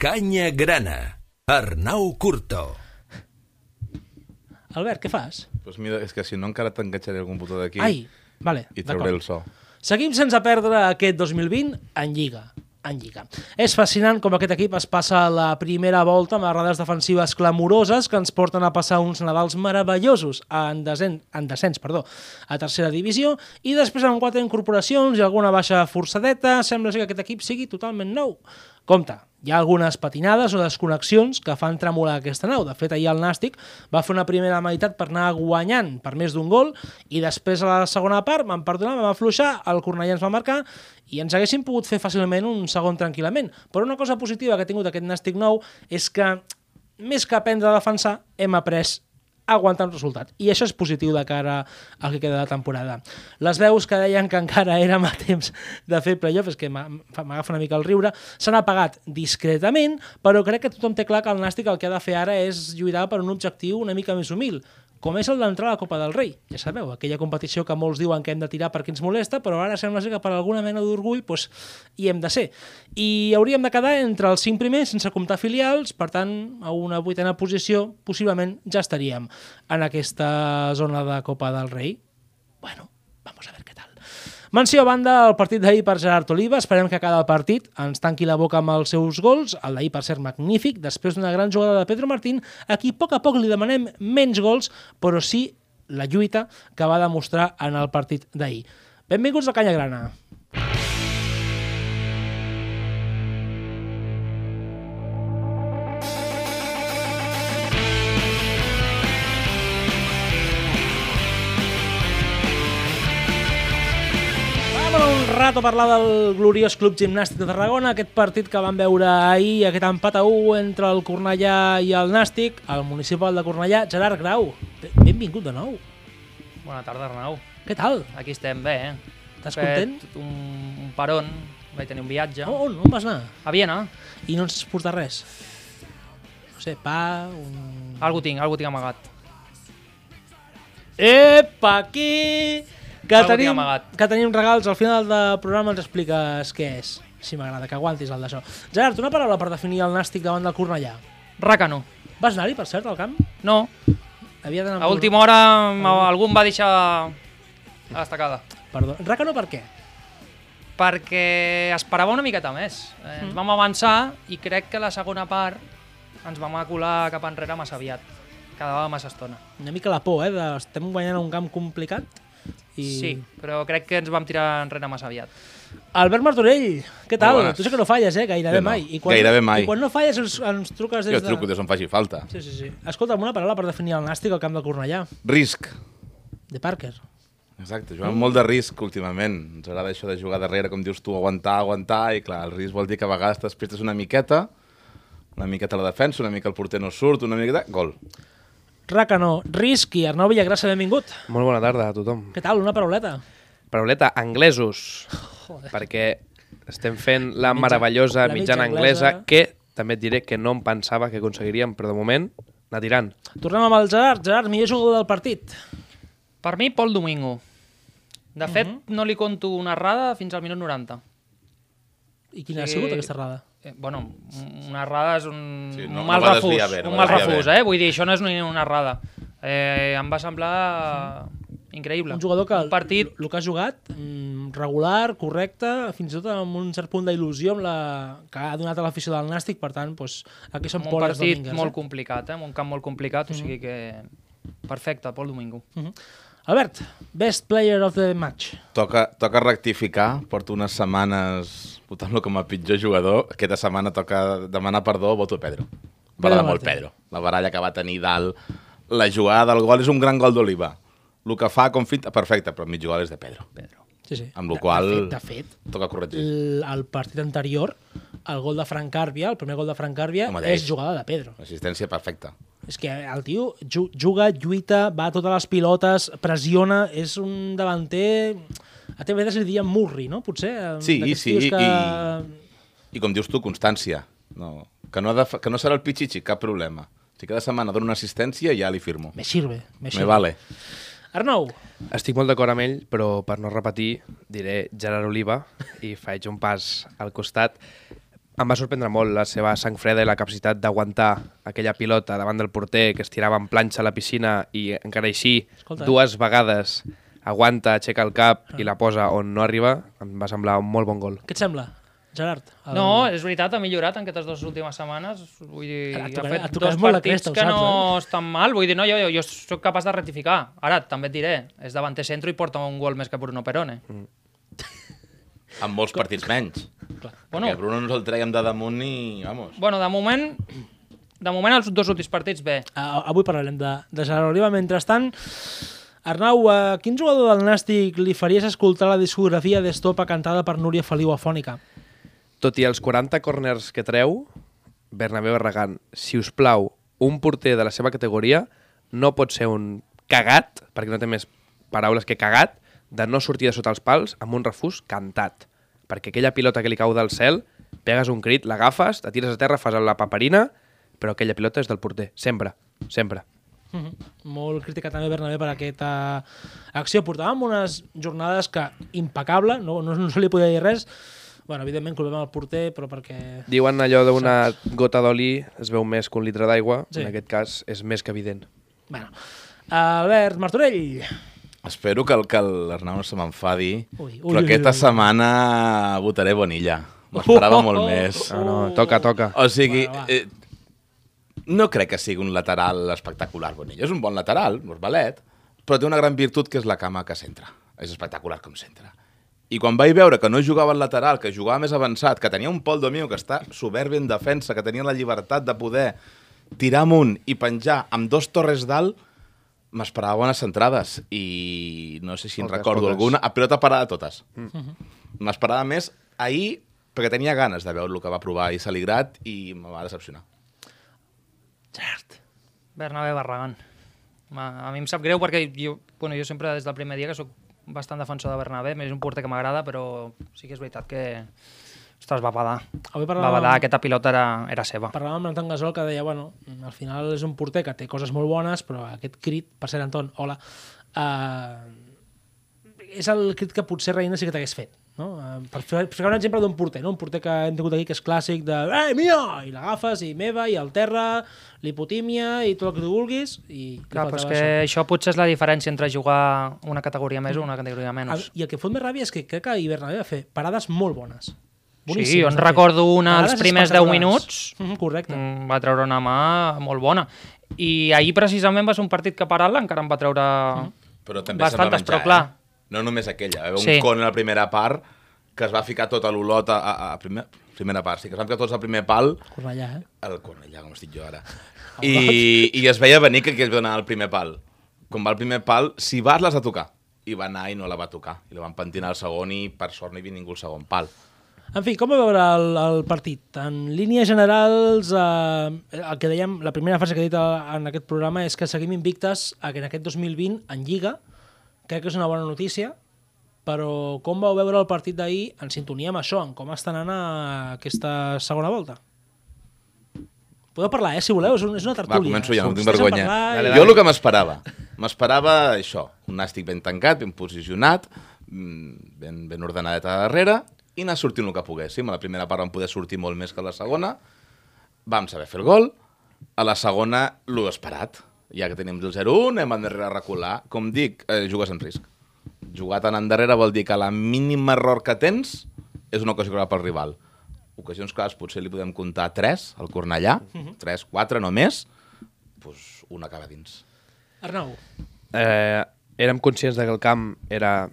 Canya grana. Arnau Curto. Albert, què fas? Pues mira, és que si no encara t'enganxaré algun botó d'aquí Ai, vale, i d'acord. trauré el so. Seguim sense perdre aquest 2020 en Lliga en Lliga. És fascinant com aquest equip es passa la primera volta amb errades defensives clamoroses que ens porten a passar uns Nadals meravellosos en, desen, en descens perdó, a tercera divisió i després amb quatre incorporacions i alguna baixa forçadeta sembla ser que aquest equip sigui totalment nou. Compte, hi ha algunes patinades o desconnexions que fan tremolar aquesta nau. De fet, ahir el Nàstic va fer una primera meitat per anar guanyant per més d'un gol i després a la segona part van perdonar, vam afluixar, el Cornellà ens va marcar i ens haguessin pogut fer fàcilment un segon tranquil·lament. Però una cosa positiva que ha tingut aquest Nàstic nou és que, més que aprendre a defensar, hem après aguantar un resultat. I això és positiu de cara al que queda de temporada. Les veus que deien que encara érem a temps de fer playoff, és que m'ha- fa- m'agafa una mica el riure, s'han apagat discretament, però crec que tothom té clar que el Nàstic el que ha de fer ara és lluitar per un objectiu una mica més humil, com és el d'entrar a la Copa del Rei. Ja sabeu, aquella competició que molts diuen que hem de tirar perquè ens molesta, però ara sembla ser que per alguna mena d'orgull doncs, hi hem de ser. I hauríem de quedar entre els cinc primers sense comptar filials, per tant, a una vuitena posició possiblement ja estaríem en aquesta zona de Copa del Rei. Bueno, vamos a ver què tal. Menció a banda el partit d'ahir per Gerard Oliva. Esperem que cada partit ens tanqui la boca amb els seus gols. El d'ahir, per ser magnífic, després d'una gran jugada de Pedro Martín, a qui a poc a poc li demanem menys gols, però sí la lluita que va demostrar en el partit d'ahir. Benvinguts a Canya Grana. Vam en un rato a parlar del gloriós Club Gimnàstic de Tarragona, aquest partit que vam veure ahir, aquest empat a 1 entre el Cornellà i el Nàstic, el municipal de Cornellà, Gerard Grau. ben- Benvingut de nou. Bona tarda, Arnau. Què tal? Aquí estem bé, eh? Estàs He fet content? Oh. Un, un peron, vaig tenir un viatge. On, on, on vas anar? A Viena, I no ens portar res? No sé, pa, un... algú tinc, algú tinc amagat. Epa, aquí! Que Algú tinc tenim, amagat. que tenim regals. Al final del programa ens expliques què és. Si m'agrada, que aguantis el d'això. Gerard, una paraula per definir el nàstic davant del Cornellà. Ràcano. Vas anar-hi, per cert, al camp? No, Havia d'anar... a última hora m'ha- algú em va deixar a destacada. Perdó. Racano per què? Perquè esperava una miqueta més. Eh, Mm-hmm. ens vam avançar i crec que la segona part ens vam acular cap enrere massa aviat. Quedava massa estona. Una mica la por, eh? De... Estem guanyant un camp complicat. I... Sí, però crec que ens vam tirar enrere massa aviat. Albert Martorell, què tal? Molt bones. Tu sé que no falles, eh? Gairebé Jo no. mai. Gairebé mai. I quan no falles ens, ens truques des Jo truco des on faci falta. Sí, sí, sí. Escolta'm, una paraula per definir el nàstic al camp de Cornellà, Risc. de Parker. Exacte, Mm. juguem molt de risc últimament. Ens agrada això de jugar darrere, com dius tu, aguantar, aguantar, i clar, el risc vol dir que a vegades t'espietes una miqueta, una miqueta a la defensa, una mica el porter no surt, una miqueta... Gol. Racano, Risk i Arnau Villagrassa, benvingut. Molt bona tarda a tothom. Què tal? Una parauleta. Parauleta, anglesos, perquè estem fent la, la meravellosa mitja mitjana anglesa, anglesa. que també et diré que no em pensava que aconseguiríem, però de moment anar tirant. Tornem amb el Gerard. Gerard, millor jugador del partit. Per mi, Pol Domingo. De fet, Mhm. no li conto una errada fins al minut 90. I quina ha Sí. sigut aquesta errada? Eh, bueno, un- una errada és un, Sí, sí, no- no, un no mal va refús. desviar bé, no un va mal desviar refús, bé. eh? Vull dir, això no és ni una errada. Eh, em va semblar increïble. Un jugador que Un partit... el que ha jugat, mm, regular, correcte, fins i tot amb un cert punt d'il·lusió amb la... que ha donat a l'afició del Nàstic, per tant, doncs, aquí són Un Poles partit Domínguez. molt eh? Mhm. complicat, eh? amb un camp molt complicat, o sigui que... Perfecte, Pol Domingo. Mm-hmm. Albert, best player of the match. Toca, toca rectificar, porto unes setmanes votant-lo com a pitjor jugador. Aquesta setmana toca demanar perdó, voto Pedro. M'agrada molt Martín. Pedro. La baralla que va tenir dalt, la jugada del gol és un gran gol d'Oliva. El que fa com finta, perfecte, però mig gol és de Pedro. Pedro. Sí, sí. Amb la De- qual De fet, de fet toca corregir. el, el partit anterior, el gol de Frank Carbia, el primer gol de Frank Carbia, Home, és Dave. jugada de Pedro. L'assistència perfecta. És que el tio ju juga, lluita, va a totes les pilotes, pressiona, és un davanter... A TV3 li diria Murri, no? Potser? eh, Sí, d'aquests sí, tios i- que... I com dius tu, constància. No, que, no ha de, fa- que no serà el pitxitxi, cap problema. Si cada setmana dono una assistència, ja li firmo. Me sirve, me sirve. Me vale. Arnau, Estic molt d'acord amb ell, però per no repetir diré Gerard Oliva i faig un pas al costat. Em va sorprendre molt la seva sang freda i la capacitat d'aguantar aquella pilota davant del porter que es tirava en planxa a la piscina i encara així Escolta. dues vegades aguanta, aixeca el cap i la posa on no arriba. Em va semblar un molt bon gol. Què et sembla, Gerard? El- No, és veritat, ha millorat en aquestes dues últimes setmanes. Vull dir, Ara, ha et tocarà- et fet tocaràs dos molt la partits cresta, ho que saps, eh? no estan mal. Vull dir, no, jo, jo, jo sóc capaç de rectificar. Ara, també et diré, és davanter centro i porta un gol més que Bruno Perone. Mm. Amb molts partits menys. Bueno, Bueno. Que Bruno ens el traiem de damunt i... Vamos. bueno, de moment... De moment, els dos últims partits, bé. Ah, avui parlarem de, de Gerard Oliva. Mentrestant, Arnau, a quin jugador del Nàstic li faries escoltar la discografia d'Estopa cantada per Núria Feliu Afònica? Tot i els 40 corners que treu, Bernabéu Barragán, si us plau, un porter de la seva categoria no pot ser un cagat, perquè no té més paraules que cagat, de no sortir de sota els pals amb un refús cantat. Perquè aquella pilota que li cau del cel, pegues un crit, l'agafes, te tires a terra, fas la paperina, però aquella pilota és del porter, sempre, sempre. Mhm. Molt crítica també Bernabé per aquesta acció. Portàvem unes jornades que impecable, no, no, no se li podia dir res. Bueno, evidentment culpem el porter, però perquè... Diuen allò d'una gota d'oli es veu més que un litre d'aigua, Sí. sí. en aquest cas és més que evident. Bueno. Albert Martorell. Espero que el que l'Arnau no se m'enfadi, Ui, ui, però ui, aquesta ui. setmana votaré Bonilla. M'esperava molt més. No, Ah, no, toca, toca. O sigui, Oh! Ah. Bueno, va. eh, no crec que sigui un lateral espectacular Bonilla. És un bon lateral, normalet, però té una gran virtut que és la cama que centra. És espectacular com centra. I quan vaig veure que no jugava al lateral, que jugava més avançat, que tenia un Pol Domingo que està soberb en defensa, que tenia la llibertat de poder tirar amunt i penjar amb dos torres dalt, m'esperava bones centrades. I no sé si en Poques, recordo poques. Mm. alguna. A pilota parada totes. M'esperava més ahir perquè tenia ganes de veure el que va provar i Saligrat i me va decepcionar. Gerard. Bernabé Barragán. Ma- A mi em sap greu perquè jo, bueno, jo sempre des del primer dia que sóc bastant defensor de Bernabé, més un porter que m'agrada, però sí que és veritat que... Ostres, va badar. Avui Va parlàvem- badar, aquesta pilota era, era seva. Parlàvem amb l'Anton Gasol que deia, bueno, al final és un porter que té coses molt bones, però aquest crit, per ser Anton, hola, uh, és el crit que potser Reina sí que t'hagués fet. No? Eh, per fer, per ficar un exemple d'un porter, no? un porter que hem tingut aquí que és clàssic de «Ei, mio!» i l'agafes, i meva, i al terra, lipotímia, i tot el que tu vulguis, i li Clar, però és faltava que això potser és la diferència entre jugar una categoria més o una categoria això. menys. I el que em fot més ràbia és que crec que hi Bernabé va fer parades molt bones. Sí, jo va en fer. recordo una als Parades primers 10 espectaculars. minuts. Mhm, correcte. Mm, va treure una mà molt bona. I ahir precisament va ser un partit que paral·la encara em va treure... Però també Bastantes, se'n va menjar, però clar. Eh? No només aquella. Va haver Sí. un con a la primera part que es va ficar tota l'olot a, a, a primer, primera part. Sí, que es van ficar tots al primer pal Cornellà, eh? el Cornellà, com estic jo ara. I, I es veia venir que aquí es va anar al primer pal. Quan va al primer pal, si vas, l'has de tocar. I va anar i no la va tocar. I la van pentinar al segon i per sort no hi havia ningú al segon pal. En fi, com va veure el, el partit? En línies generals, eh, el que dèiem, la primera frase que he dit a- en aquest programa és que seguim invictes a- en aquest 2020 en Lliga. Crec que és una bona notícia, però com vau veure el partit d'ahir en sintonia amb això, en com estan anant a aquesta segona volta? Podeu parlar, eh, si voleu, és, un, és una Va, tertúlia. començo jo, no tinc Vostès han vergonya. parlat Dale, i- dale. Jo el que m'esperava, m'esperava això, un nàstic ben tancat, ben posicionat, mm, ben, ben ordenadet a darrere, i anar sortint el que poguéssim. A la primera part vam poder sortir molt més que a la segona, vam saber fer el gol, a la segona l'ho esperat. Ja que tenim el 0-1, anem endarrere a recular. Com dic, eh, jugues en risc. Jugar tant endarrere vol dir que la mínima error que tens és una ocasió clara pel rival. Ocasions clares potser li podem comptar 3 al Cornellà, Mhm. 3, 4 només, doncs una acaba dins. Arnau, eh, érem conscients de que el camp era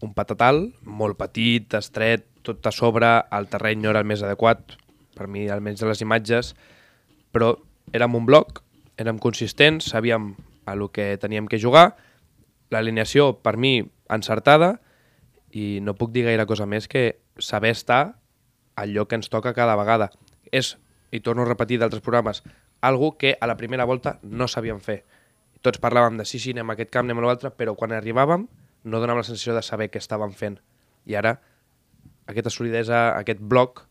un patatal, molt petit, estret, tot a sobre, el terreny no era el més adequat, per mi almenys de les imatges, però érem un bloc, érem consistents, sabíem a lo que teníem que jugar, l'alineació per mi encertada i no puc dir gaire cosa més que saber estar al lloc que ens toca cada vegada. És, i torno a repetir d'altres programes, algo que a la primera volta no sabíem fer. Tots parlàvem de sí, sí, anem a aquest camp, anem a l'altre, però quan arribàvem no donàvem la sensació de saber què estàvem fent. I ara aquesta solidesa, aquest bloc,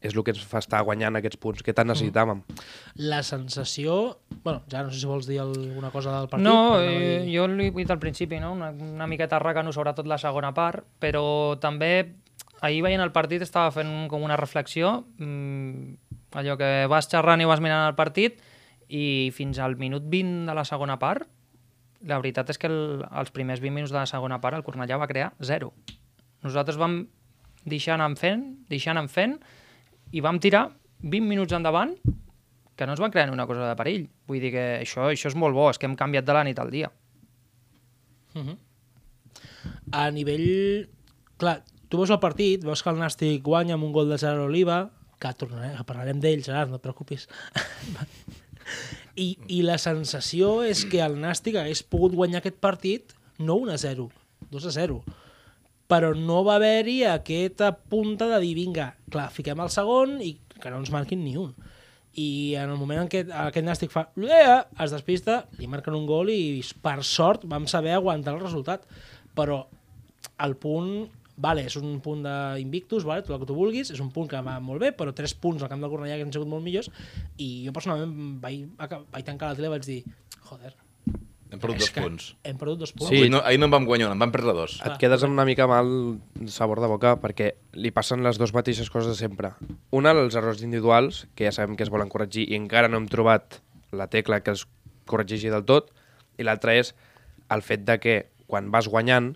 és el que ens fa estar guanyant aquests punts que tant necessitàvem. la sensació... Bueno, ja no sé si vols dir alguna cosa del partit. No, perquè anava a eh, dir- jo l'he dit al principi, no? una, una miqueta racano, sobretot la segona part, però també ahir veient el partit estava fent un- com una reflexió, mm, allò que vas xerrant i vas mirant el partit i fins al minut 20 de la segona part, la veritat és que el, els primers 20 minuts de la segona part el Cornellà va crear zero. Nosaltres vam deixar anar fent, deixar anar fent, i vam tirar 20 minuts endavant que no ens van crear ni una cosa de perill. Vull dir que això, això és molt bo, és que hem canviat de la nit al dia. a nivell... Clar, tu veus el partit, veus que el Nàstic guanya amb un gol de Gerard Oliva, que tornarem, que parlarem d'ell, Gerard, no et preocupis. I, I la sensació és que el Nàstic hagués pogut guanyar aquest partit no 1 a 0, 2 a 0. Però no va haver-hi aquesta punta de dir, vinga, clar, fiquem el segon i que no ens marquin ni un. I en el moment en què aquest Nàstic fa "Ea", es despista, li marquen un gol i per sort vam saber aguantar el resultat. Però el punt vale, és un punt d'Invictus, vale, tot el que tu vulguis, és un punt que va molt bé, però tres punts al camp del Cornellà que han sigut molt millors, i jo personalment vaig, aca- vaig tancar la tele i vaig dir, joder, Hem perdut és dos punts. hem perdut dos punts. Sí. Avui no, ahir no en vam guanyar una, en vam perdre dos. Et quedes amb una mica mal sabor de boca perquè li passen les dues mateixes coses de sempre. Una, els errors individuals, que ja sabem que es volen corregir i encara no hem trobat la tecla que els corregeixi del tot. I l'altra és el fet de que quan vas guanyant,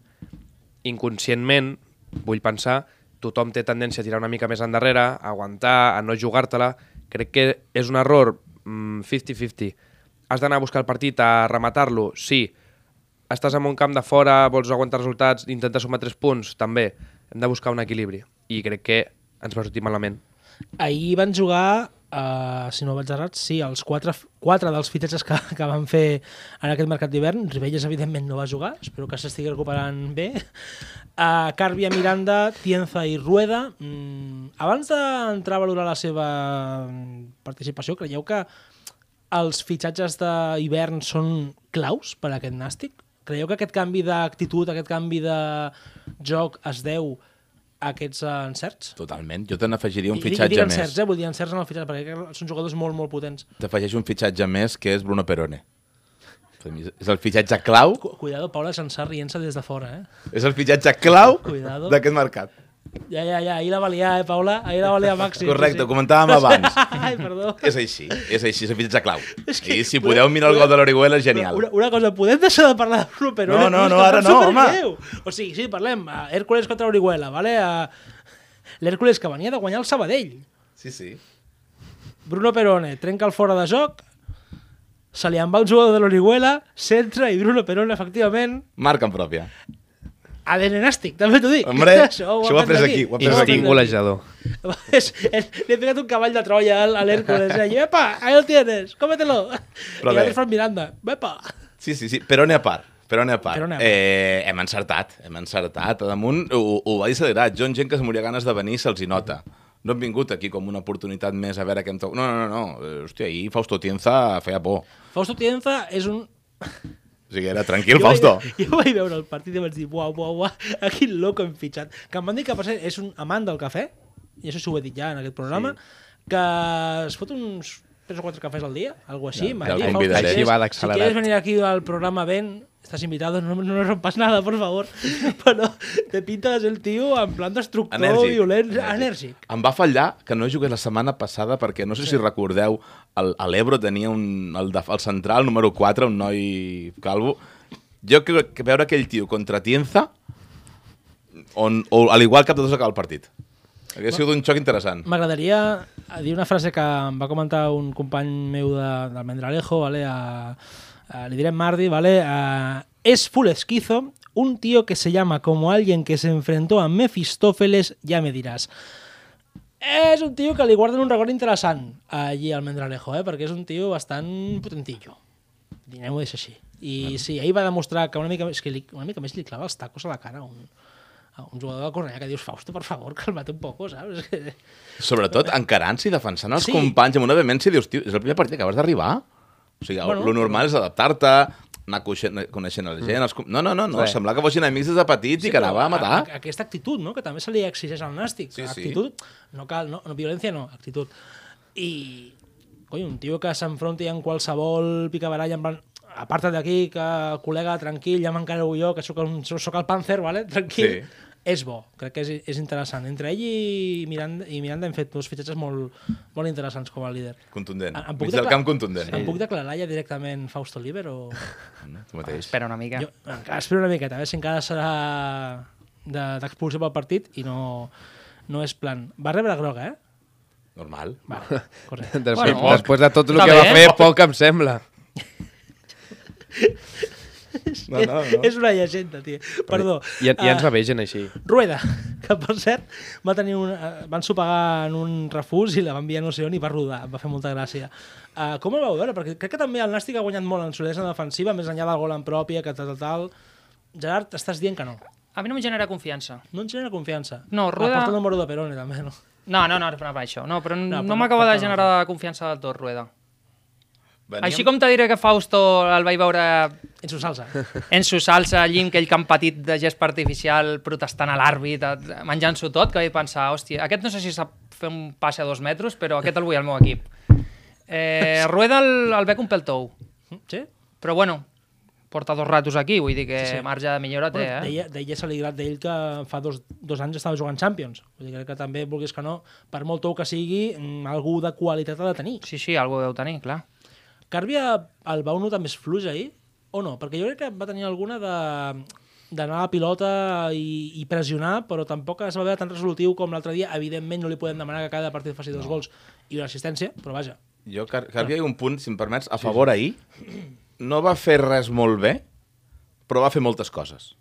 inconscientment, vull pensar, tothom té tendència a tirar una mica més endarrere, a aguantar, a no jugar-te-la. Crec que és un error mm, 50-50. Has d'anar a buscar el partit, a rematar-lo, sí, estàs en un camp de fora, vols aguantar resultats, intentar sumar 3 punts, també. Hem de buscar un equilibri. I crec que ens va sortir malament. Ahir van jugar, uh, si no vaig errat, sí, els quatre, quatre dels fitxatges que, que van fer en aquest mercat d'hivern. Ribelles, evidentment, no va jugar. Espero que s'estigui recuperant bé. Uh, Carbia, Miranda, Tienza i Rueda. Mm, abans d'entrar a valorar la seva mm, participació, creieu que els fitxatges d'hivern són claus per a aquest nàstic? Creieu que aquest canvi d'actitud, aquest canvi de joc es deu a aquests eh, encerts? Totalment. Jo te n'afegiria un I- i dic fitxatge encerts, més. Eh? Vull dir encerts en el fitxatge, perquè són jugadors molt, molt potents. T'afegeix un fitxatge més, que és Bruno Perone. Per mi És el fitxatge clau, Cu- Cuidado, Paula Sansar rient-se des de fora, eh? és el fitxatge clau Cuidado. d'aquest mercat. Ja, ja, ja, ahir la va liar, eh, Paula? Ahir la va liar Maxi. Correcte, ho comentàvem abans. Ai, perdó. És així, és així, és el fitxatge clau. És que- I si podeu mirar el gol de l'Orihuela, és genial. Una, una cosa, podem deixar de parlar de Bruno Perone? No, no, És que no, ara em no, sap home. greu. O sigui, sí, parlem. eh, Hèrcules contra Orihuela, vale? Eh, L'Hèrcules que venia de guanyar el Sabadell. Sí, sí. Bruno Perone trenca el fora de joc, se li en va el jugador de l'Orihuela, centra i Bruno Perone, efectivament, Marca en pròpia. ADN nàstic, també t'ho dic. Hombre, això ho ha aprens après aquí, ho Això ha après Instinct aprens golejador. és, és, li he ficat un cavall de Troia al- a l'Hércules. Eh? Epa, ahí lo tienes, cómetelo. I Però bé. l'altre Fran Miranda. Epa. Sí, sí, sí, Perone a part. Perone a part. Perone a part. Eh, hem encertat, hem encertat. A damunt ho, ho va dir Cederat. Jo, en gent que es moria ganes de venir, se'ls hi nota. No hem vingut aquí com una oportunitat més a veure què em toca. No, no, no, no. Eh, Hòstia, ahir Fausto Tienza feia por. Fausto Tienza és un... O sigui, era tranquil, vaig, Fausto. jo vaig veure el partit i vaig dir, buah, buah, buah, a quin loco hem fitxat. Que em van dir que per cert, és un amant del cafè, i això s'ho he dit ja en aquest programa, sí. que es fot uns 3 o 4 cafès al dia, algo així. Ja, m'ha ja el dit, Fausto, convidaré. si Així va quieres- d'accelerat. Si quieres venir aquí al programa, ven, estás invitado, no, no nos rompas nada, por favor. Però te pintas el tío en plan destructor, Enèrgic. violent, enèrgic. Em va fallar que no jugués la setmana passada perquè no sé si recordeu, el- a l'Ebro tenia un, el, de, el central número 4, un noi calvo. Jo crec que veure aquell tio contra Tienza, on, o al igual cap de dos acaba el partit. Hauria sigut un xoc interessant. M'agradaria dir una frase que em va comentar un company meu de, del Mendralejo, vale? A, a, li direm Mardi, vale? A, es full esquizo, un tío que se llama como alguien que se enfrentó a Mefistófeles, ya me dirás. És un tio que li guarden un record interessant allí al Mendralejo, eh? perquè és un tio bastant potentillo. Dinem-ho deixa així. I sí, ahir va demostrar que una mica, més, que li, una mica més li clava els tacos a la cara a un, a un jugador del Cornellà que dius, Fausto, per favor, calma't un poco, saps? És que- Sobretot encarant-se i defensant els Sí. sí. companys amb una vehemència, dius, tio, és el primer partit que acabes d'arribar? O sigui, Bueno, bueno, lo normal és adaptar-te, anar coneixent, coneixent la gent... Els... com- No, no, no, no, Res. semblava que fossin amics des de petits sí, i que però anava a matar. a- a- Aquesta actitud, no?, que també se li exigeix al nàstic. Sí, sí. actitud, no cal, no, no, violència no, actitud. I, coi, un tio que s'enfronti en qualsevol picabaralla, en plan, aparta't d'aquí, que col·lega, tranquil, ja m'encarrego jo, que sóc, un, sóc el Panzer, vale? tranquil. Sí. és bo, crec que és, és interessant. Entre ell i Miranda, i Miranda hem fet dos fitxatges molt, molt interessants com a líder. Contundent. Ah, Em- em puc Mig del decla- camp contundent. Em puc declarar ja directament Fausto Oliver o... No? Tu mateix. Espera una mica. Jo encara espero una miqueta, a veure si encara serà de- d'expulsió pel partit i no, no és plan. Va rebre groga, eh? Normal. Vale, correcte. Després, Bueno, després de tot el està que bé, va eh? fer, poc em sembla. No, no, no. És una llegenda, tio. Perdó. I, i ens Ah, va bé gent així. Rueda, que per cert va tenir un, eh, van sopegar en un refús i la van enviar no sé on i va rodar, em va fer molta gràcia. Uh, com el vau veure? Perquè crec que també el Nàstic ha guanyat molt en solidesa defensiva, més enllà del gol en pròpia, que tal, tal, tal. Gerard, estàs dient que no. A mi no em genera confiança. No ens genera confiança. No, Rueda- Aporta el número de Perone, també, no? No, no, no, no va això. No, però No, no, però no no m'acaba de porta- generar confiança del tot, Rueda. Veníem... Veníem... Així com te diré que Fausto el vaig veure Ets un salsa. en su salsa allí amb aquell camp petit de gespa artificial protestant a l'àrbit, eh, menjant-s'ho tot, que vaig pensar, hòstia, aquest no sé si sap fer un passe a dos metres, però aquest el vull al meu equip. Eh, Rueda el, el bec un pel tou, Sí? però bueno, porta dos ratos aquí, vull dir que sí, Sí, sí. sí. marge de millora té, Bueno, eh? Deia, deia se li grat d'ell que fa dos, dos anys estava jugant Champions. Vull dir, crec que també, vulguis que no, per molt tou que sigui, mm, algú de qualitat ha de tenir. Sí, sí, algú deu tenir, clar. Càrbia el vau notar més fluix ahir? O no? Perquè jo crec que va tenir alguna de d'anar a la pilota i, i pressionar, però tampoc es va veure tan resolutiu com l'altre dia. Evidentment no li podem demanar que cada partit faci dos no. gols i una assistència, però vaja. Jo, Car Carvia, hi ha un punt, si em permets, a favor ahir. No va fer res molt bé, però va fer moltes coses.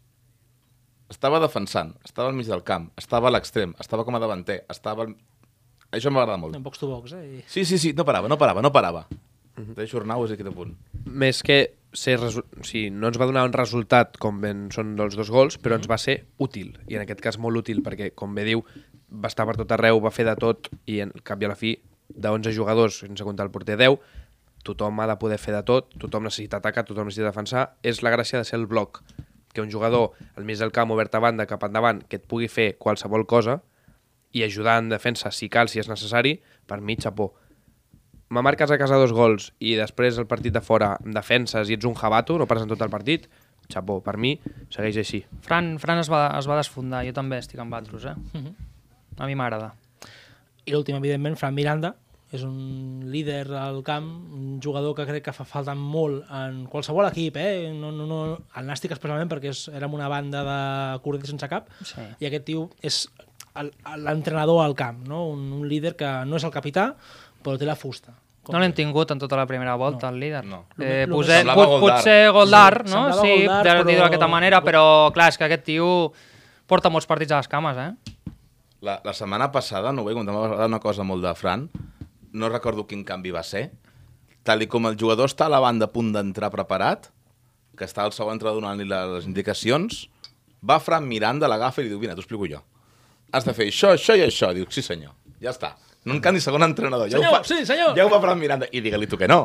Estava defensant, estava al mig del camp, estava a l'extrem, estava com a davanter, estava... Al... Això m'agrada molt. En box to box, eh? I... Sí, sí, sí, no parava, no parava, no parava. Deixo Arnau, és aquest punt. Més que ser resu... o sigui, no ens va donar un resultat com ben són dels dos gols, però ens va ser útil, i en aquest cas molt útil, perquè, com bé diu, va estar per tot arreu, va fer de tot, i en cap i a la fi, de 11 jugadors, sense comptar el porter 10, tothom ha de poder fer de tot, tothom necessita atacar, tothom necessita defensar, és la gràcia de ser el bloc, que un jugador al mig del camp, obert a banda, cap endavant, que et pugui fer qualsevol cosa, i ajudar en defensa si cal, si és necessari, per mi, xapó me marques a casa dos gols i després el partit de fora em defenses i ets un jabato, no pares en tot el partit, xapó, per mi segueix així. Fran, Fran es, va, es va desfundar, jo també estic amb altres, eh? Mm-hmm. A mi m'agrada. I l'últim, evidentment, Fran Miranda, és un líder al camp, un jugador que crec que fa falta molt en qualsevol equip, eh? No, no, no, el Nàstic especialment, perquè és, érem una banda de corders sense cap, Sí. i aquest tio és el- l'entrenador al camp, no? un, un líder que no és el capità, però té la fusta. No l'hem tingut en tota la primera volta, no. el líder. No. Eh, Lo- lo Poser, que- pot, Semblava potser Goldar, Sí, no? semblava Sí, Goldar, de dir-ho però- d'aquesta manera, però clar, és que aquest tio porta molts partits a les cames, eh? La, la setmana passada, no ho veig, comentava una cosa molt de Fran, no recordo quin canvi va ser, tal i com el jugador està a la banda a punt d'entrar preparat, que està el segon entrenador donant-li la- les indicacions, va Fran Miranda, l'agafa i li diu, vine, t'ho explico jo. Has de fer això, això i això. Diu, sí senyor, ja està. No en canvi segon entrenador. ja Senyor, ho fa, sí, senyor. Ja ho va Fran Miranda. I digue-li tu que no.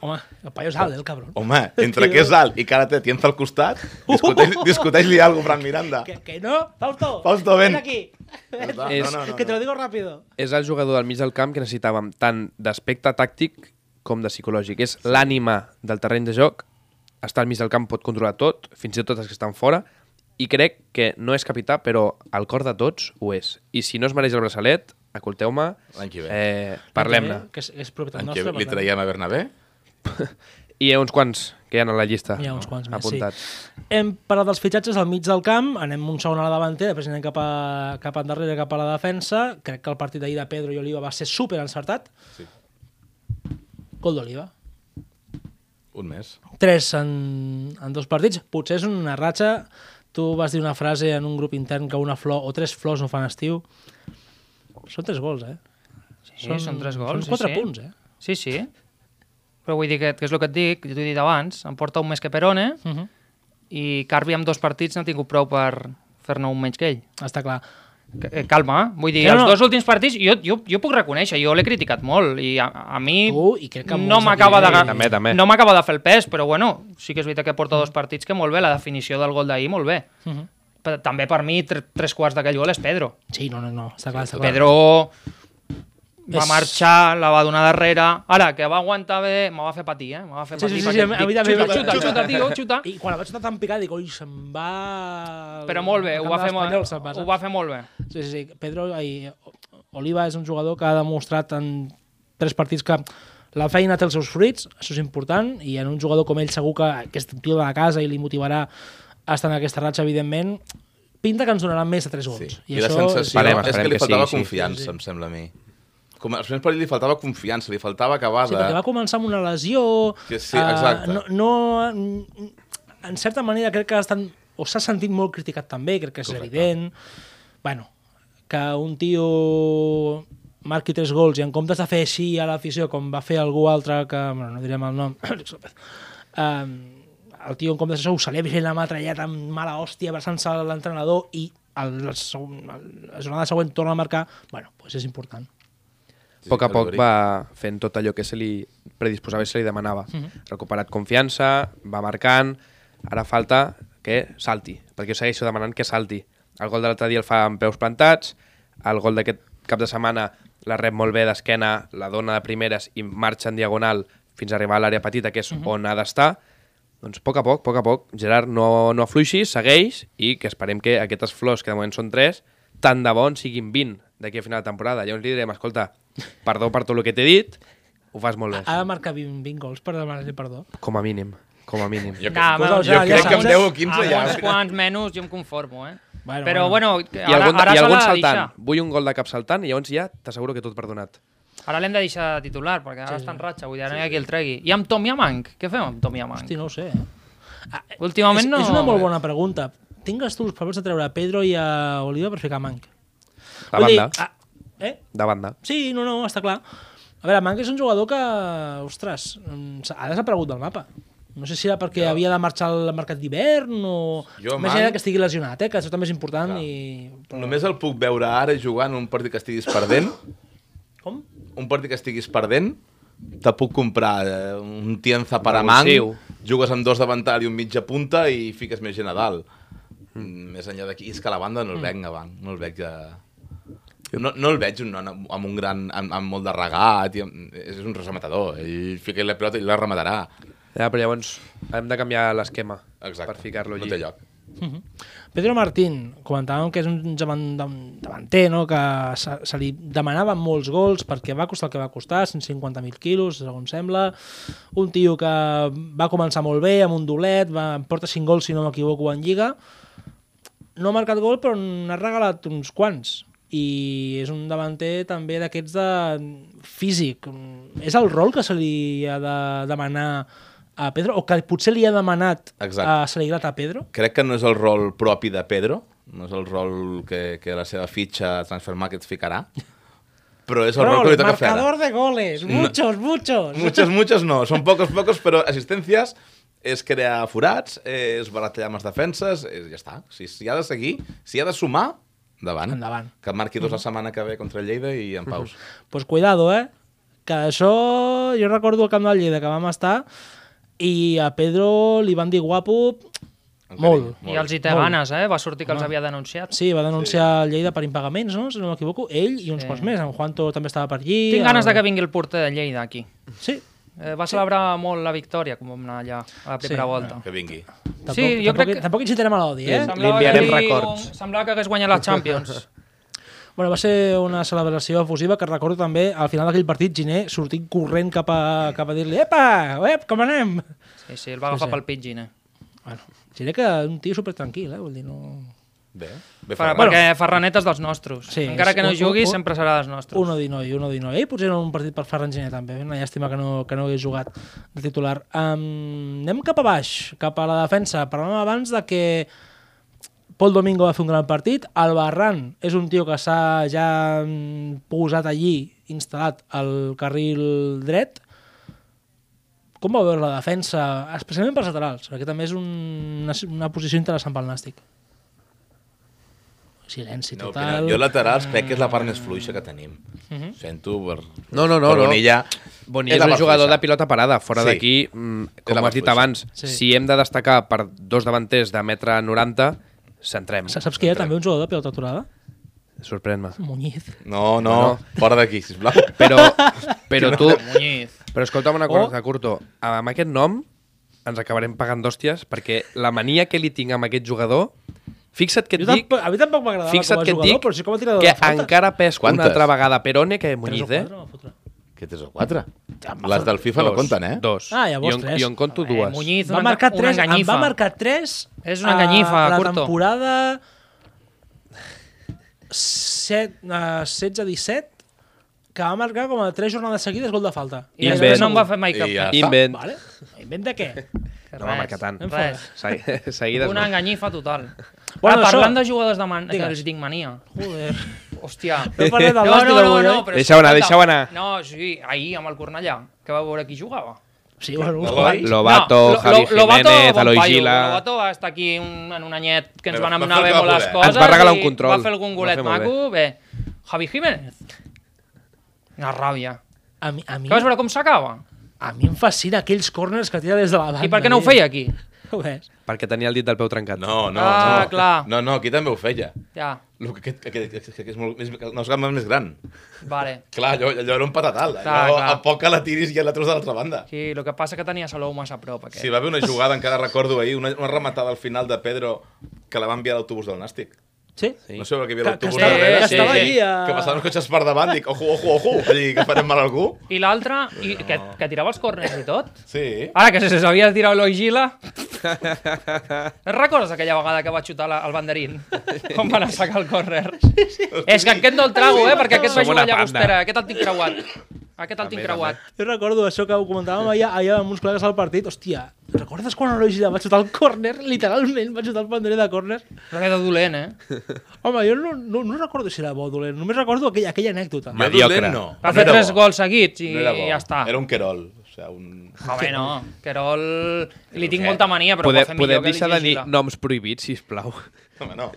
Home, el paio és alt, eh, el cabrón. Home, entre que és alt i que ara te tienza al costat, discuteix- discuteix-li alguna cosa, Fran Miranda. Uh! Que, que no, Fausto, Fausto, ven. aquí, Ja està. És- que te lo digo rápido. És el jugador del mig del camp que necessitàvem tant d'aspecte tàctic com de psicològic. És l'ànima del terreny de joc, està al mig del camp, pot controlar tot, fins i tot els que estan fora, i crec que no és capità, però al cor de tots ho és. I si no es mereix el braçalet, escolteu-me, L'any que ve. eh, parlem-ne. Que és, és propietat En nostra. què per li tant. traiem a Bernabé? I hi ha uns quants que hi ha a la llista. Hi ha uns quants més, apuntats. sí. Hem parat els fitxatges al mig del camp, anem un segon a la davantera, després anem cap, a, cap endarrere, cap a la defensa. Crec que el partit d'ahir de Pedro i Oliva va ser super encertat. Sí. Gol d'Oliva. Un més. Tres en, en dos partits. Potser és una ratxa. Tu vas dir una frase en un grup intern que una flor o tres flors no fan estiu. Són tres gols, eh? Sí, són, són tres gols. Són quatre sí, sí. punts, eh? Sí, sí. Però vull dir que, que és el que et dic, jo t'ho he dit abans, em porta un més que Perone Uh -huh. i Carvi amb dos partits n'ha tingut prou per fer-ne un menys que ell. Està clar. C- eh, Calma, eh? vull dir, No, els no. dos últims partits jo, jo, jo puc reconèixer, jo l'he criticat molt i a, a mi Tu, i crec que no molts m'acaba de, aquí, eh? ga- també, també. no m'acaba de fer el pes, però bueno, sí que és veritat que porta dos partits que molt bé, la definició del gol d'ahir molt bé. Uh -huh. Però també per mi tre, tres quarts d'aquell gol és Pedro. Sí, no, no, no. Està clar, està clar. Pedro va És- marxar, la va donar darrere... Ara, que va aguantar bé, me va fer patir, eh? Me va fer Sí, patir sí, sí, perquè sí, a mi- a mi dic, també xuta, va- xuta, xuta, tio, xuta. I quan la vaig estar tan picada, dic, oi, se'm va... Però molt bé, el ho va, camp fer, espanyol se'n molt, ho va fer molt bé. Sí, sí, sí. Pedro, ai, Oliva és un jugador que ha demostrat en tres partits que la feina té els seus fruits, això és important, i en un jugador com ell segur que, que és tio de la casa i li motivarà a estar en aquesta ratxa, evidentment, pinta que ens donarà més de tres Sí. gols. I, I la sensació Esperem, esperem, esperem és que que li faltava sí, sí. confiança, em sembla a mi. Com, als primers partits li faltava confiança, li faltava acabar Sí, de... perquè va començar amb una lesió... Sí, sí, eh, exacte. no, no, mm, en certa manera crec que ha estat, o s'ha sentit molt criticat també, crec que és Correcte. evident. bueno, que un tio marqui tres gols i en comptes de fer així a l'afició com va fer algú altre que, bueno, no direm el nom, um, el tio en comptes d'això ho celebri fent la matralleta amb mala hòstia abraçant-se a l'entrenador i el, el, segon- el- la jornada següent torna a marcar, bueno, doncs és important. A poc a poc Rodrigo. va fent tot allò que se li predisposava i se li demanava. Recuperat confiança, va marcant, ara falta que salti, perquè jo segueixo demanant que salti. El gol de l'altre dia el fa amb peus plantats, el gol d'aquest cap de setmana la rep molt bé d'esquena, la dona de primeres i marxa en diagonal fins a arribar a l'àrea petita, que és on ha d'estar. Doncs poc a poc, poc a poc, Gerard, no, no afluixis, segueix i que esperem que aquestes flors, que de moment són tres, tant de bon siguin 20 d'aquí a final de temporada. Llavors li direm, escolta, perdó per tot el que t'he dit, ho fas molt bé. Ha de marcar 20, 20 gols per demanar-li perdó. Com a mínim, com a mínim. Jo, Nah, Pues bueno, ja- ja saps. amb 10 o 15 amb ja. Uns quants menys jo em conformo, eh? Bueno, Però, bueno, bueno. I algun, ara, ara i se algun l'ha de saltant. deixar. Vull un gol de cap saltant i llavors ja t'asseguro que tot perdonat. Ara l'hem de deixar de titular, perquè ara està en ratxa, vull dir, ara no hi ha qui el tregui. I amb Tom Yamank? Què fem amb Tom Yamank? Hosti, no ho sé. Ah, eh, Últimament és, no- És una molt bona pregunta. Tingues tu els papers de treure a Pedro i a Oliva per ficar Manc? De Vull dir, banda, ah, eh? de banda. Sí, no, no, està clar. A veure, Manc és un jugador que, ostres, mm, s'ha- ha desaparegut del mapa. No sé si era perquè havia de marxar al mercat d'hivern o... Jo, Més Manc- enllà que estigui lesionat, eh? que això també és important. I... Només el puc veure ara jugant un partit que estiguis perdent, Com? un partit que estiguis perdent, te puc comprar eh, un tienza per a mang, Revulsiu. jugues amb dos davantal i un mitja punta i fiques més gent a dalt. Mm. Més enllà d'aquí, és que a la banda no el veig, a banc, no el veig de... No, no el veig un non amb, amb un gran, amb, amb molt de regat, i amb, és un rematador, ell fica la pilota i la rematarà. Ja, però llavors hem de canviar l'esquema Exacte. per ficar-lo allí. No té lloc. Pedro Martín, comentàvem que és un davan- dam- davanter, no? que se, se li demanaven molts gols perquè va costar el que va costar, 150.000 quilos, segons sembla. Un tio que va començar molt bé, amb un dolet, va, em porta 5 gols, si no m'equivoco, en Lliga. No ha marcat gol, però n'ha regalat uns quants. I és un davanter també d'aquests de físic. És el rol que se li ha de demanar a Pedro, o que potser li ha demanat Exacte. a, se li grat a Pedro? crec que no és el rol propi de Pedro, no és el rol que, que la seva fitxa a Transfer Market ficarà, però és el rol, Rol, que li toca fer marcador ara. de goles, muchos, muchos. Muchos, muchos no, són pocos, pocos, però assistències és crear forats, és baratellar amb les defenses, és, ja està. Si, si ha de seguir, si ha de sumar, endavant. Endavant. Que marqui dos la setmana que ve contra el Lleida i en paus. Pues cuidado, eh? Que això... Jo recordo el camp del Lleida que vam estar i a Pedro li van dir guapo Amb molt. carinyo. I els hi té ganes, eh? Va sortir que els havia denunciat. Sí, va denunciar el Lleida per impagaments, no? Si no m'equivoco. Ell i uns Sí. quants més. En Juanto també estava per allí. Tinc ganes el- de que vingui el porter de Lleida aquí. Sí. Eh, va celebrar molt la victòria, com vam anar allà a la primera Sí. volta. Que vingui. Tampoc, Sí, jo tampoc, crec que- Tampoc incitarem a l'odi, eh? Semblava Eh, Li enviarem que records. Semblava que hagués guanyat la Champions. Bueno, va ser una celebració efusiva que recordo també al final d'aquell partit Giné sortint corrent cap a, cap a dir-li Epa, ep, com anem? Sí, sí, el va agafar sí. pel pitgin, eh? Bueno, Giné que un tio super tranquil, eh? Vull dir, no... Bé, bé Per, Ferran. perquè Ferranet és dels nostres. Sí, Encara és que no un- jugui, un- sempre serà dels nostres. 1-19, 1-19. Ell potser era un partit per Ferran Giné, també. Una llàstima que no, que no hagués jugat de titular. Um, anem cap a baix, cap a la defensa. Parlàvem abans de que Pol Domingo va fer un gran partit. El Barran és un tio que s'ha ja mm, posat allí, instal·lat al carril dret. Com va veure la defensa, especialment per laterals? Perquè també és un, una, una posició interessant pel Nàstic. Silenci No, total. opineu. jo laterals crec que és la part més fluixa que tenim. Sento per... No, no, no, per no. Bonilla. És Bonilla és la un part jugador fluixa. de pilota parada, fora Sí. d'aquí, mm, la com part has dit fluixa. abans, Sí. si hem de destacar per dos davanters de metre 90, centrem. Sa- Saps que hi ha també un jugador de pilota aturada? sorprèn-me. Muñiz. No, no, fora d'aquí, sisplau. Però, però tu... Muñiz. Però escolta'm una cosa, oh. Curto. Amb aquest nom ens acabarem pagant d'hòsties perquè la mania que li tinc amb aquest jugador... Fixa't que et Jo dic... tampoc, a mi tampoc m'agradava Fixa't com a que et jugador, dic però sí com a tirador que de faltes. encara pesco Quantes? una altra vegada Perone que Muñiz, eh? Tres o quatre, eh? Que tres o quatre. Les del FIFA no compten, eh? Dos. Ah, llavors jo, en- tres. Jo en compto Eh, dues. Muñiz, Va una, marcar una tres, em enganyifa. va marcar tres És una a enganyifa, la Curto. temporada 7, uh, 16-17 que va marcar com a tres jornades seguides gol de falta. I Invent. després no em va fer mai I cap. ja. cas. Invent. Vale? Invent de què? No va marcar tant. Em fa- Res. Se- Seguides Una no. enganyifa total. Bueno, Bueno, ah, parlant això- de jugadors de man... que Digues. els tinc mania. Joder. Hòstia. No parlem del No, bàsquet no, no, avui, no, eh? però Deixa-ho escolta, anar, deixa-ho anar. No, sí, ahir amb el Cornellà, que va veure qui jugava. Sí, bueno, un Eloi? guai. Lobato, No, lo- Javi lo- Lobato, Jiménez, bon Eloi paio. Gila... Lobato va estar aquí un, en un anyet que ens Però van va fer anar el bé que va molt les voler. coses. Ens va regalar i un control. Va fer el Ho gongolet va fer molt maco, bé. Javi Jiménez. Una ràbia. A mi, a mi, Que vas veure com s'acaba? a mi em fascina aquells corners que tira des de la banda. I per què no ho eh? feia aquí? Ho veus? Perquè tenia el dit del peu trencat. No, no, Ah, no. clar. No, no, aquí també ho feia. Ja, El que, aquest, aquest, aquest, aquest és molt, més, no és gamma més gran. vale. Clar, allò, allò era un patatal. Allò, Clar, clar. A poc que la tiris i la trus de l'altra banda. Sí, el que passa que tenia Salou massa a prop, aquest. Sí, va haver una jugada, encara recordo ahir, una, una rematada al final de Pedro que la va enviar l'autobús del Nàstic. Sí? Sí. No sé per què hi havia Que- l'autobús que de estava- darrere. que estava allí a- Que passaven els cotxes per davant, dic, ojo, ojo, ojo, o sigui, que farem mal a algú. I l'altre, i que, que tirava els corners i tot. Sí. Ara que se sabia tirar Eloi Gila... Recordes aquella vegada que va xutar la, el banderín? Com van a sacar el córner? És que aquest no el trago, eh? Perquè aquest va Som jugar a una Llagostera. panda. Aquest el tinc creuat. Aquest el tinc creuat. Jo recordo això que ho comentàvem allà, allà amb uns col·legues al partit. Hòstia, recordes quan Eloi Gila va xutar el córner? Literalment va xutar el panderer de córner. Però que de dolent, eh? Home, jo no, no, no recordo si era bo o dolent. Només recordo aquella, aquella anècdota. Jo Mediocre. dolent No. Va No fer era tres bo. gols seguits i, No era bo. ja està. Era un querol. O sigui, un... Home, no. Querol... Li tinc molta mania, però Podem, ho va fer millor podem que deixar de Eloi dir Gila. noms prohibits, sisplau. Home, no.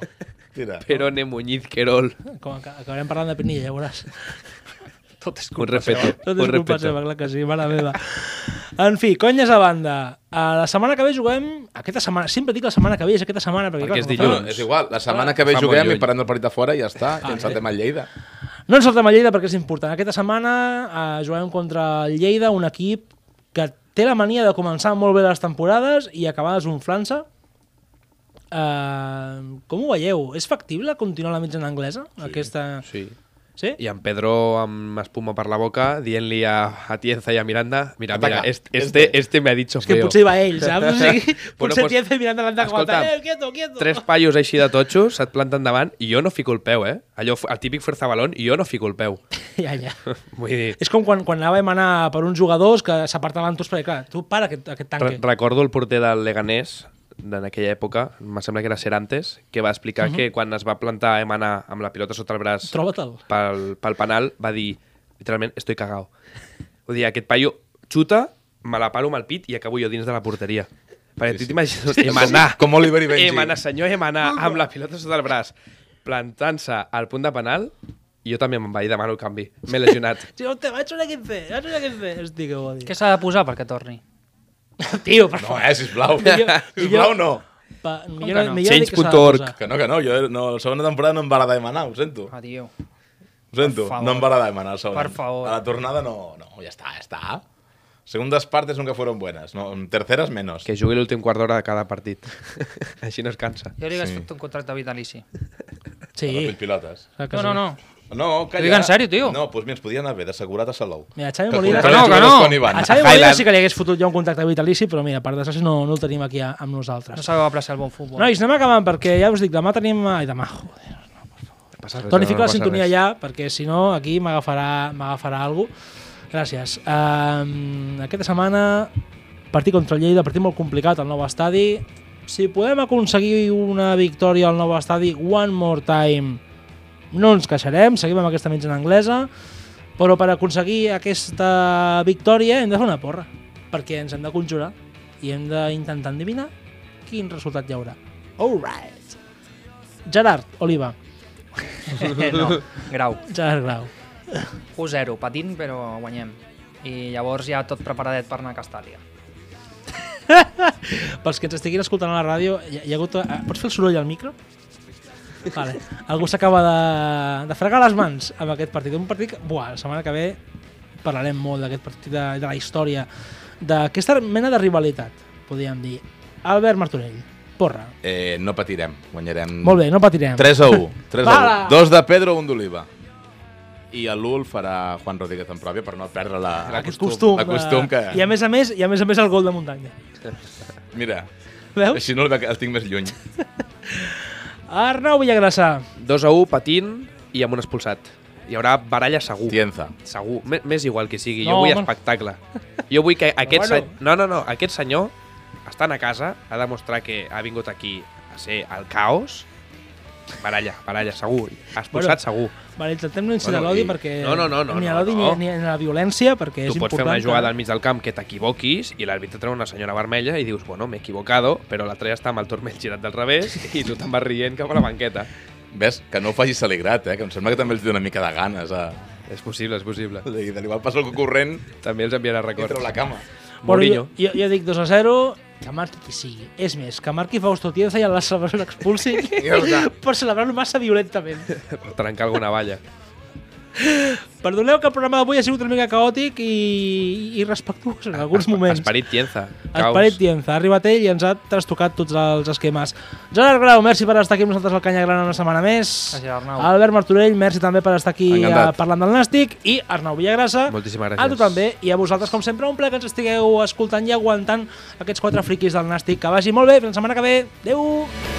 Tira. Perone, Muñiz, Querol... Eh, Com que acabarem parlant de Pinilla, ja veuràs. Tot és Un culpa respeto, Tot un és culpa respeto. seva, clar que sí, mare meva. En fi, conyes a banda. A la setmana que ve juguem... Aquesta setmana, sempre dic la setmana que ve, és aquesta setmana. Perquè, Perquè és clar, com dilluns. No, és igual, la setmana que ve Fa doncs- molt juguem i lluny. parlem del partit de fora i ja està, Ah, i eh. ens saltem a Lleida. No ens saltem a Lleida perquè és important. Aquesta setmana eh, juguem contra el Lleida, un equip que té la mania de començar molt bé les temporades i acabar desunflant-se. Eh, com ho veieu? És factible continuar la mitjana anglesa? Sí. Aquesta... Sí. sí? I en Pedro amb espuma per la boca, dient-li a, a Tienza i a Miranda, mira, mira, Ataca, este, este, este. este me ha dicho És que feo. potser va ell, saps? O sigui, Bueno, potser pues, t'hi has fet mirant davant de com a escolta'm, tal, eh, quieto, quieto. Tres paios així de totxos, se't planten davant i jo no fico el peu, eh? Allò, el típic fuerza balón, i jo no fico el peu. Ja, ja. Vull dir, És com quan, quan anàvem a anar per uns jugadors que s'apartaven tots perquè, clar, tu para aquest, aquest tanque. Re recordo el porter del Leganés en aquella època, me sembla que era Serantes, que va explicar uh -huh. que quan es va plantar Emana amb la pilota sota el braç Mhm. Troba-te'l. pel, pel penal, va dir, literalment, estoy cagao. Vull dir, aquest paio xuta, me la paro amb el pit i acabo jo dins de la porteria. Perquè sí, tu t'imagines sí. Emana, Com Oliver i Benji. Emana, senyor Emana, amb la pilota sota el braç, plantant-se al punt de penal, i jo també me'n vaig i demano el canvi. M'he lesionat. Sí, hòstia, vaig una 15, vaig una 15. Hosti, que bo, Què s'ha de posar perquè torni? Tio, per No, eh, sisplau. Millor- sisplau, millor- no. Pa, millor, que millor no? dir que s'ha de Change.org. posar. Que no, que no, jo no, la segona temporada no em va agradar demanar, ho sento. Ah, tio. Ho sento, Per favor. no em va agradar demanar el segon. Per favor. A la tornada no, no, ja està, ja està. Segundas partes nunca fueron buenas, no, en terceras menos. Que jugui l'últim quart d'hora de cada partit. Així no es cansa. Jo li hagués Sí. fet un contracte vitalici. Sí. Ah, Ara fent pilotes. clar Ah, que No, sí. no, no. No, calla. dic en sèrio, tio. No, doncs pues, mira, ens podien haver d'assegurat a Salou. Mira, Xavi Que Molina- contrari Que no, els que jugadors no. quan hi van. A Xavi Molina Highland. sí que li hagués fotut jo un contacte vitalici, però mira, per desgràcia no, no el tenim aquí a, amb No nosaltres. sabeu aplaçar el bon futbol. Nois, anem acabant, perquè ja us dic, demà tenim... Ai, demà, joder. Passa res, Toni, no fica la passa sintonia res. allà, perquè si no, aquí m'agafarà m'agafarà alguna Gràcies. Um, aquesta setmana, partit contra el Lleida, partit molt complicat al nou estadi. Si podem aconseguir una victòria al nou estadi, one more time, no ens queixarem, seguim amb aquesta mitjana anglesa, però per aconseguir aquesta victòria hem de fer una porra, perquè ens hem de conjurar i hem d'intentar endevinar quin resultat hi haurà. All right. Gerard Oliva, Eh, no, grau. Gerard Grau. 1-0, patint, però guanyem. I llavors ja tot preparadet per anar a Castàlia. Pels que ens estiguin escoltant a la ràdio, hi ha, hi ha hagut... eh, Pots fer el soroll al micro? Vale. Algú s'acaba de, de fregar les mans amb aquest partit. Un partit que, buah, la setmana que ve parlarem molt d'aquest partit, de, de la història, d'aquesta mena de rivalitat, podríem dir. Albert Martorell, porra. Eh, no patirem, guanyarem... Molt bé, no patirem. 3 a 1. 3 a Bala! 1. Dos de Pedro, un d'Oliva. I a l'1 el farà Juan Rodríguez en pròpia per no perdre la... Aquest costum. eh, El costum que... I a més a més, i a més a més el gol de muntanya. Mira, Veus? així no el, el tinc més lluny. Arnau Villagrassa. 2 a 1, patint i amb un expulsat. Hi haurà baralla segur. Tienza. Segur. M M'és igual que sigui. No, jo vull home. espectacle. Jo vull que aquest, bueno. bueno. se... no, no, no, aquest senyor, estant a casa, ha demostrat que ha vingut aquí a ser el caos. Baralla, baralla, segur. Bueno. Expulsat, segur. Vale, intentem no incidir Bueno, l'odi i- perquè... no, no, no, no, ni a no, l'odi no. ni, ni, a la violència perquè és tu pots important. fer una jugada que- al mig del camp que t'equivoquis i l'àrbitre treu una senyora vermella i dius, bueno, m'he equivocado, però la treia està amb el turmell girat del revés i tu te'n vas rient cap a la banqueta. Ves, que no ho facis alegrat, eh? Que em sembla que també els té una mica de ganes. eh. A... És possible, és possible. O sigui, de l'igual passa el corrent També els enviarà i treu records. la cama. Bueno, Mourinho. jo, jo, jo dic 2 a 0, que marqui qui sigui. És més, que marqui Fausto Tienza i a la celebració l'expulsi Ja està. per celebrar-lo massa violentament. Per trencar alguna valla. Perdoneu que el programa d'avui ha sigut una mica caòtic i, i respectuós en alguns Espe- moments. Esperit Tienza. Caos. Esperit Tienza, ha arribat ell i ens ha trastocat tots els esquemes. Gerard Grau, merci per estar aquí amb nosaltres al Canya Grana una setmana més. Gràcies, Arnau. Albert Martorell, merci també per estar aquí Encantat. eh, parlant del Nàstic. I Arnau Villagrassa, Moltíssimes gràcies. a tu també. I a vosaltres, com sempre, un plaer que ens estigueu escoltant i aguantant aquests quatre friquis del Nàstic. Que vagi molt bé, fins la setmana que ve. Adéu!